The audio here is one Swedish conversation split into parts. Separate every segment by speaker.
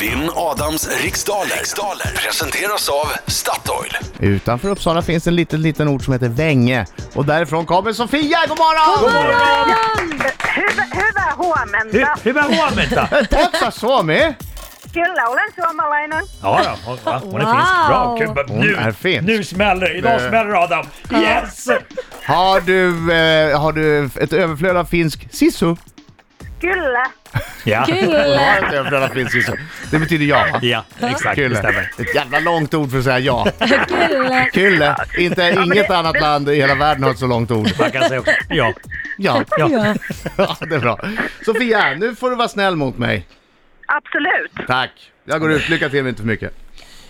Speaker 1: Vinn Adams riksdaler. riksdaler presenteras av Statoil.
Speaker 2: Utanför Uppsala finns en liten, liten ort som heter Vänge. Och därifrån kommer Sofia! God morgon! God morgon!
Speaker 3: Hyvää huomenta.
Speaker 4: Hy- hyvää huomenta!
Speaker 2: Tätä Suomi!
Speaker 3: Kyllä, olen suomalainen.
Speaker 4: Ja, ja, hon, ja, hon är finsk. Bra! Kul. Men
Speaker 2: Hon
Speaker 4: nu,
Speaker 2: är finsk.
Speaker 4: nu smäller det! Idag
Speaker 2: Eh.
Speaker 4: smäller det, Adam! Yes!
Speaker 2: Har du, eh, har du ett överflöd av finsk sisu?
Speaker 3: Kyllä.
Speaker 4: Ja,
Speaker 2: Jag
Speaker 5: Kul!
Speaker 2: har ett överflöd av finsk sisu. Det betyder ja.
Speaker 4: ja exakt.
Speaker 2: Kul.
Speaker 4: Det stämmer.
Speaker 2: Ett jävla långt ord för att säga ja.
Speaker 5: Kul!
Speaker 2: Kul. Inte, inget annat land i hela världen har ett så långt ord.
Speaker 4: Man kan säga också. Ja.
Speaker 2: Ja,
Speaker 5: Ja.
Speaker 2: ja det är bra. Sofia, nu får du vara snäll mot mig.
Speaker 3: Absolut.
Speaker 2: Tack. Jag går ut. Lycka till men inte för mycket.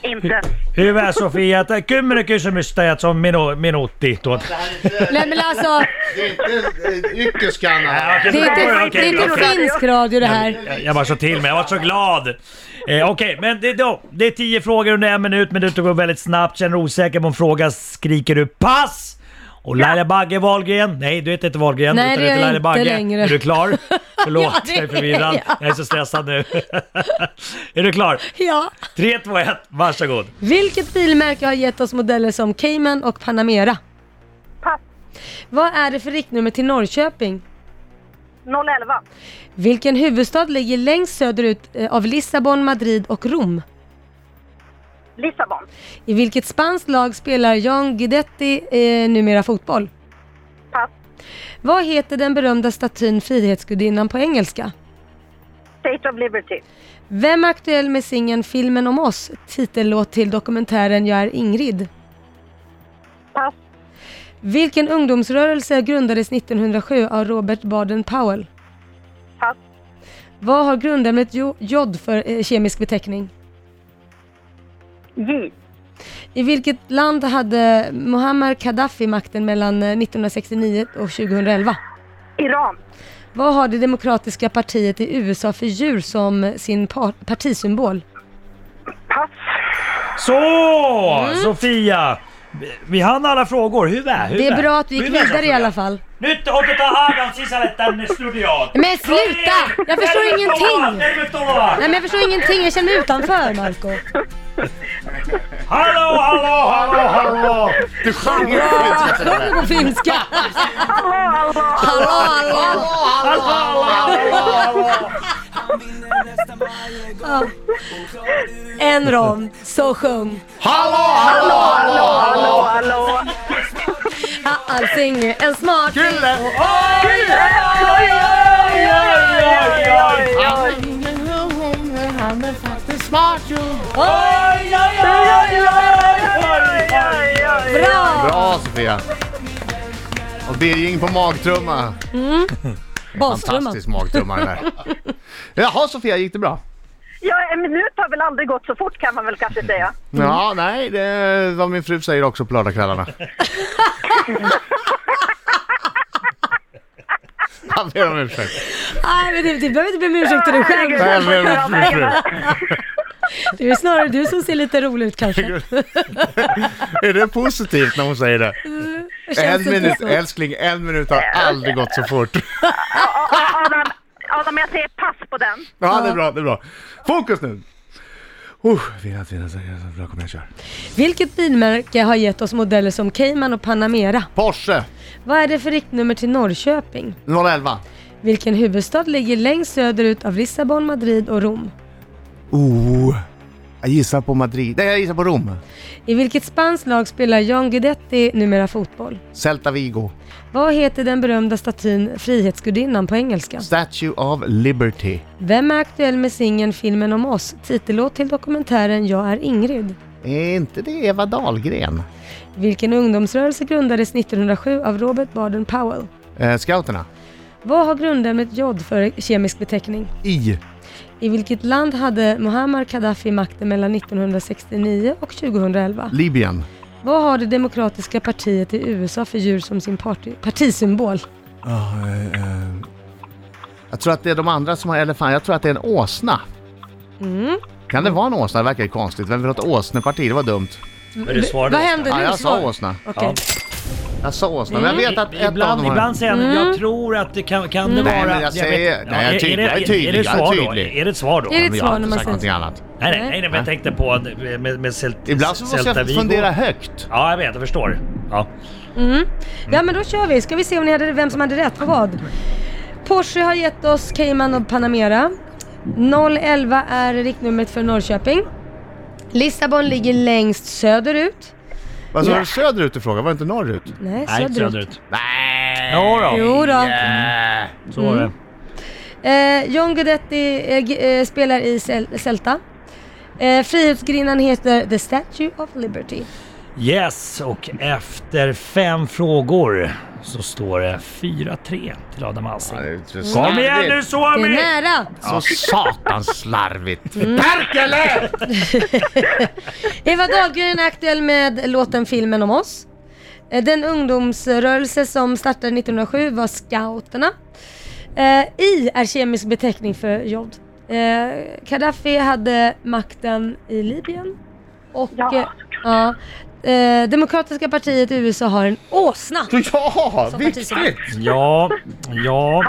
Speaker 3: Inte.
Speaker 4: Hyvä Sofia. Tää kymmenen kysymystä ja se on minu, minuutti tuota.
Speaker 5: Nej men alltså,
Speaker 2: Det är inte yckeskanna.
Speaker 4: Okej,
Speaker 5: det är
Speaker 4: okej,
Speaker 5: inte,
Speaker 4: okej,
Speaker 5: det är inte
Speaker 4: okej.
Speaker 5: finsk radio det här.
Speaker 4: Jag- Jag bara så till mig, jag var så glad! Eh, Okej, men det, då, det är tio frågor under en minut, men det går väldigt snabbt. Känner du osäker på en fråga skriker du pass! Och Laila Bagge Wahlgren, nej du heter inte Wahlgren,
Speaker 5: Nej,
Speaker 4: utan
Speaker 5: det
Speaker 4: du
Speaker 5: gör
Speaker 4: heter
Speaker 5: jag
Speaker 4: Laila
Speaker 5: inte
Speaker 4: Bagge.
Speaker 5: längre.
Speaker 4: Är du klar? Förlåt,
Speaker 5: Ja, det
Speaker 4: jag är förvirrad.
Speaker 5: är jag.
Speaker 4: Jag är så stressad nu. är du klar?
Speaker 5: Ja.
Speaker 4: 3, 2, 1, varsågod.
Speaker 5: Vilket bilmärke har gett oss modeller som Cayman och Panamera?
Speaker 3: Pass.
Speaker 5: Vad är det för riktnummer till Norrköping?
Speaker 3: 011.
Speaker 5: Vilken huvudstad ligger längst söderut eh, av Lissabon, Madrid och Rom?
Speaker 3: Lissabon.
Speaker 5: I vilket spanskt lag spelar John Guidetti eh, numera fotboll?
Speaker 3: Pass.
Speaker 5: Vad heter den berömda statyn Frihetsgudinnan på engelska?
Speaker 3: State of Liberty.
Speaker 5: Vem är aktuell med singeln Filmen om oss, titellåt till dokumentären Jag är Ingrid?
Speaker 3: Pass.
Speaker 5: Vilken ungdomsrörelse grundades 1907 av Robert Baden-Powell?
Speaker 3: Pass.
Speaker 5: Vad har grundämnet jo- jod för eh, kemisk beteckning?
Speaker 3: J.
Speaker 5: I vilket land hade Muammar Gaddafi makten mellan eh, 1969 och 2011?
Speaker 3: Iran.
Speaker 5: Vad har det demokratiska partiet i USA för djur som eh, sin par- partisymbol?
Speaker 3: Pass.
Speaker 4: Så!
Speaker 5: Mm.
Speaker 4: Sofia! vi- Vi hann alla frågor, hyvä, hyvä.
Speaker 5: Det är bra att du gick
Speaker 4: Hyvä,
Speaker 5: vidare i
Speaker 4: Sofia.
Speaker 5: alla fall.
Speaker 4: Nyt otetaan Aadan sisälle tänne studioon.
Speaker 5: Men sluta! Jag förstår
Speaker 4: Tervetuloa,
Speaker 5: ingenting!
Speaker 4: Tervetuloa!
Speaker 5: Nej men jag förstår ingenting, jag känner mig utanför Marco.
Speaker 4: Hallå, hallå, hallå, hallå!
Speaker 2: Du sjöng ju finska till och med.
Speaker 5: Sjunger på finska!
Speaker 3: Hallå, hallå.
Speaker 5: Hallå hallå!
Speaker 4: Hallå, hallå, hallå, hallå!
Speaker 5: Ja. En rom, så sjung.
Speaker 3: Hallå, hallå.
Speaker 5: Ah, Allting är en smart...
Speaker 2: Kille!
Speaker 3: Oj, oj, oj, oj, oj, oj.
Speaker 4: Oj, oj, oj, oj, oj, oj!
Speaker 5: Bra!
Speaker 2: Bra Sofia! Och Birging på magtrumma.
Speaker 5: Bastrumman.
Speaker 2: Fantastisk magtrumma den där. Jaha Sofia, gick det bra?
Speaker 3: Ja, eh, en minut har väl aldrig gått så fort kan man väl kanske säga.
Speaker 2: Ja, nej, det är vad min fru säger också på lördagskvällarna. Jag ber om ursäkt.
Speaker 5: Nej men du, du behöver inte be om ursäkt till dig själv.
Speaker 2: Nej, jag ber om ursäkt, fru.
Speaker 5: Det är ju snarare du som ser lite rolig ut kanske.
Speaker 2: Är det positivt när hon säger det?
Speaker 5: Det
Speaker 2: En
Speaker 5: känns inte
Speaker 2: minut,
Speaker 5: så.
Speaker 2: älskling, en minut har aldrig gått så fort.
Speaker 3: Adam, Adam, jag säger pass på den.
Speaker 2: Ja, det är bra, det är bra. Fokus nu! Uh, fina, fina, fina, bra, kom igen, kör.
Speaker 5: Vilket bilmärke har gett oss modeller som Cayman och Panamera?
Speaker 2: Porsche
Speaker 5: Vad är det för riktnummer till Norrköping?
Speaker 2: 011.
Speaker 5: Vilken huvudstad ligger längst söderut av Lissabon, Madrid och Rom?
Speaker 2: Oh, jag gissar på Madrid. Nej, jag gissar på Rom.
Speaker 5: I vilket spanskt lag spelar John Guidetti numera fotboll?
Speaker 2: Celta Vigo.
Speaker 5: Vad heter den berömda statyn Frihetsgudinnan på engelska?
Speaker 2: Statue of Liberty.
Speaker 5: Vem är aktuell med singeln Filmen om oss, titellåt till dokumentären Jag är Ingrid?
Speaker 2: Är inte det Eva Dahlgren?
Speaker 5: Vilken ungdomsrörelse grundades 1907 av Robert Baden Powell?
Speaker 2: Eh, scouterna.
Speaker 5: Vad har grundämnet jod för kemisk beteckning?
Speaker 2: I.
Speaker 5: I vilket land hade Muammar Gaddafi makten mellan 1969 och 2011?
Speaker 2: Libyen.
Speaker 5: Vad har det demokratiska partiet i USA för djur som sin parti- partisymbol?
Speaker 2: Jag tror att det är de andra som har elefant. Jag tror att det är en åsna. Kan det vara en åsna? Det verkar ju konstigt. Vem vill ha ett åsneparti? Det var dumt.
Speaker 4: Men du svarade
Speaker 5: Vad hände nu?
Speaker 2: Ja, jag sa
Speaker 5: Svar.
Speaker 2: åsna.
Speaker 5: Okej.
Speaker 2: Jag sa åsna, men jag vet att ett av
Speaker 4: Ibland,
Speaker 2: dem har...
Speaker 4: ibland säger han, jag tror att det kan, kan det
Speaker 2: Nej,
Speaker 4: vara...
Speaker 2: men jag säger-
Speaker 4: vet-
Speaker 2: nej, jag är
Speaker 4: är-
Speaker 2: tydlig,
Speaker 4: är det-
Speaker 2: jag är tydlig,
Speaker 4: Är det ett
Speaker 2: jag är
Speaker 4: svar då?
Speaker 2: tydlig.
Speaker 4: Är det ett svar då?
Speaker 5: Är det ett
Speaker 2: Men jag har
Speaker 5: svar när
Speaker 2: inte
Speaker 5: man
Speaker 2: sagt
Speaker 5: säger
Speaker 2: någonting
Speaker 5: så?
Speaker 2: annat.
Speaker 4: Nej, nej, nej, men jag tänkte på att- med, med, med Celt,
Speaker 2: Ibland så måste jag
Speaker 4: Celta-Vigo.
Speaker 2: fundera högt.
Speaker 4: Ja, jag vet, jag förstår. Ja.
Speaker 5: Ja men då kör vi, ska vi se om ni hade, vem som hade rätt på vad. Porsche har gett oss Cayman och Panamera. 011 är riktnumret för Norrköping. Lissabon ligger längst söderut.
Speaker 2: Vad sa du Alltså, söderut du frågade? Var det inte norrut?
Speaker 5: Nej,
Speaker 4: Nej,
Speaker 5: söderut.
Speaker 4: inte söderut.
Speaker 2: Nej.
Speaker 4: Jo då.
Speaker 5: Jo Mm. då.
Speaker 2: Nej.
Speaker 4: Så var det.
Speaker 5: Eh, John Guidetti eh, g- eh, spelar i Cel- Celta. Eh, frihetsgrinnan heter The Statue of Liberty.
Speaker 4: Yes, och efter fem frågor så står det 4-3 till Adam Alsing.
Speaker 2: Ja, det är så
Speaker 4: Kom igen
Speaker 2: slarvigt.
Speaker 4: nu
Speaker 5: Det är
Speaker 4: Suomi!
Speaker 5: nära!
Speaker 2: Så satans slarvigt.
Speaker 4: Mm.
Speaker 2: Perkele!
Speaker 5: Eva Dahlgren är aktuell med låten Filmen om oss. Eh, Den ungdomsrörelse som startade 1907 var Scouterna. Eh, I är kemisk beteckning för jod. Eh, Gaddafi hade makten i Libyen. Och
Speaker 3: Ja,
Speaker 5: eh, ja, eh, Demokratiska partiet i USA har en åsna.
Speaker 4: Mm.
Speaker 2: Ja,
Speaker 5: Som
Speaker 2: viktigt!
Speaker 4: Ja, ja,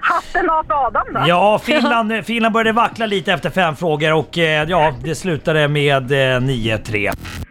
Speaker 3: Hatten av för Adam då.
Speaker 4: ja Finland, Finland började vackla lite efter fem frågor och eh, ja, det slutade med eh, 9-3.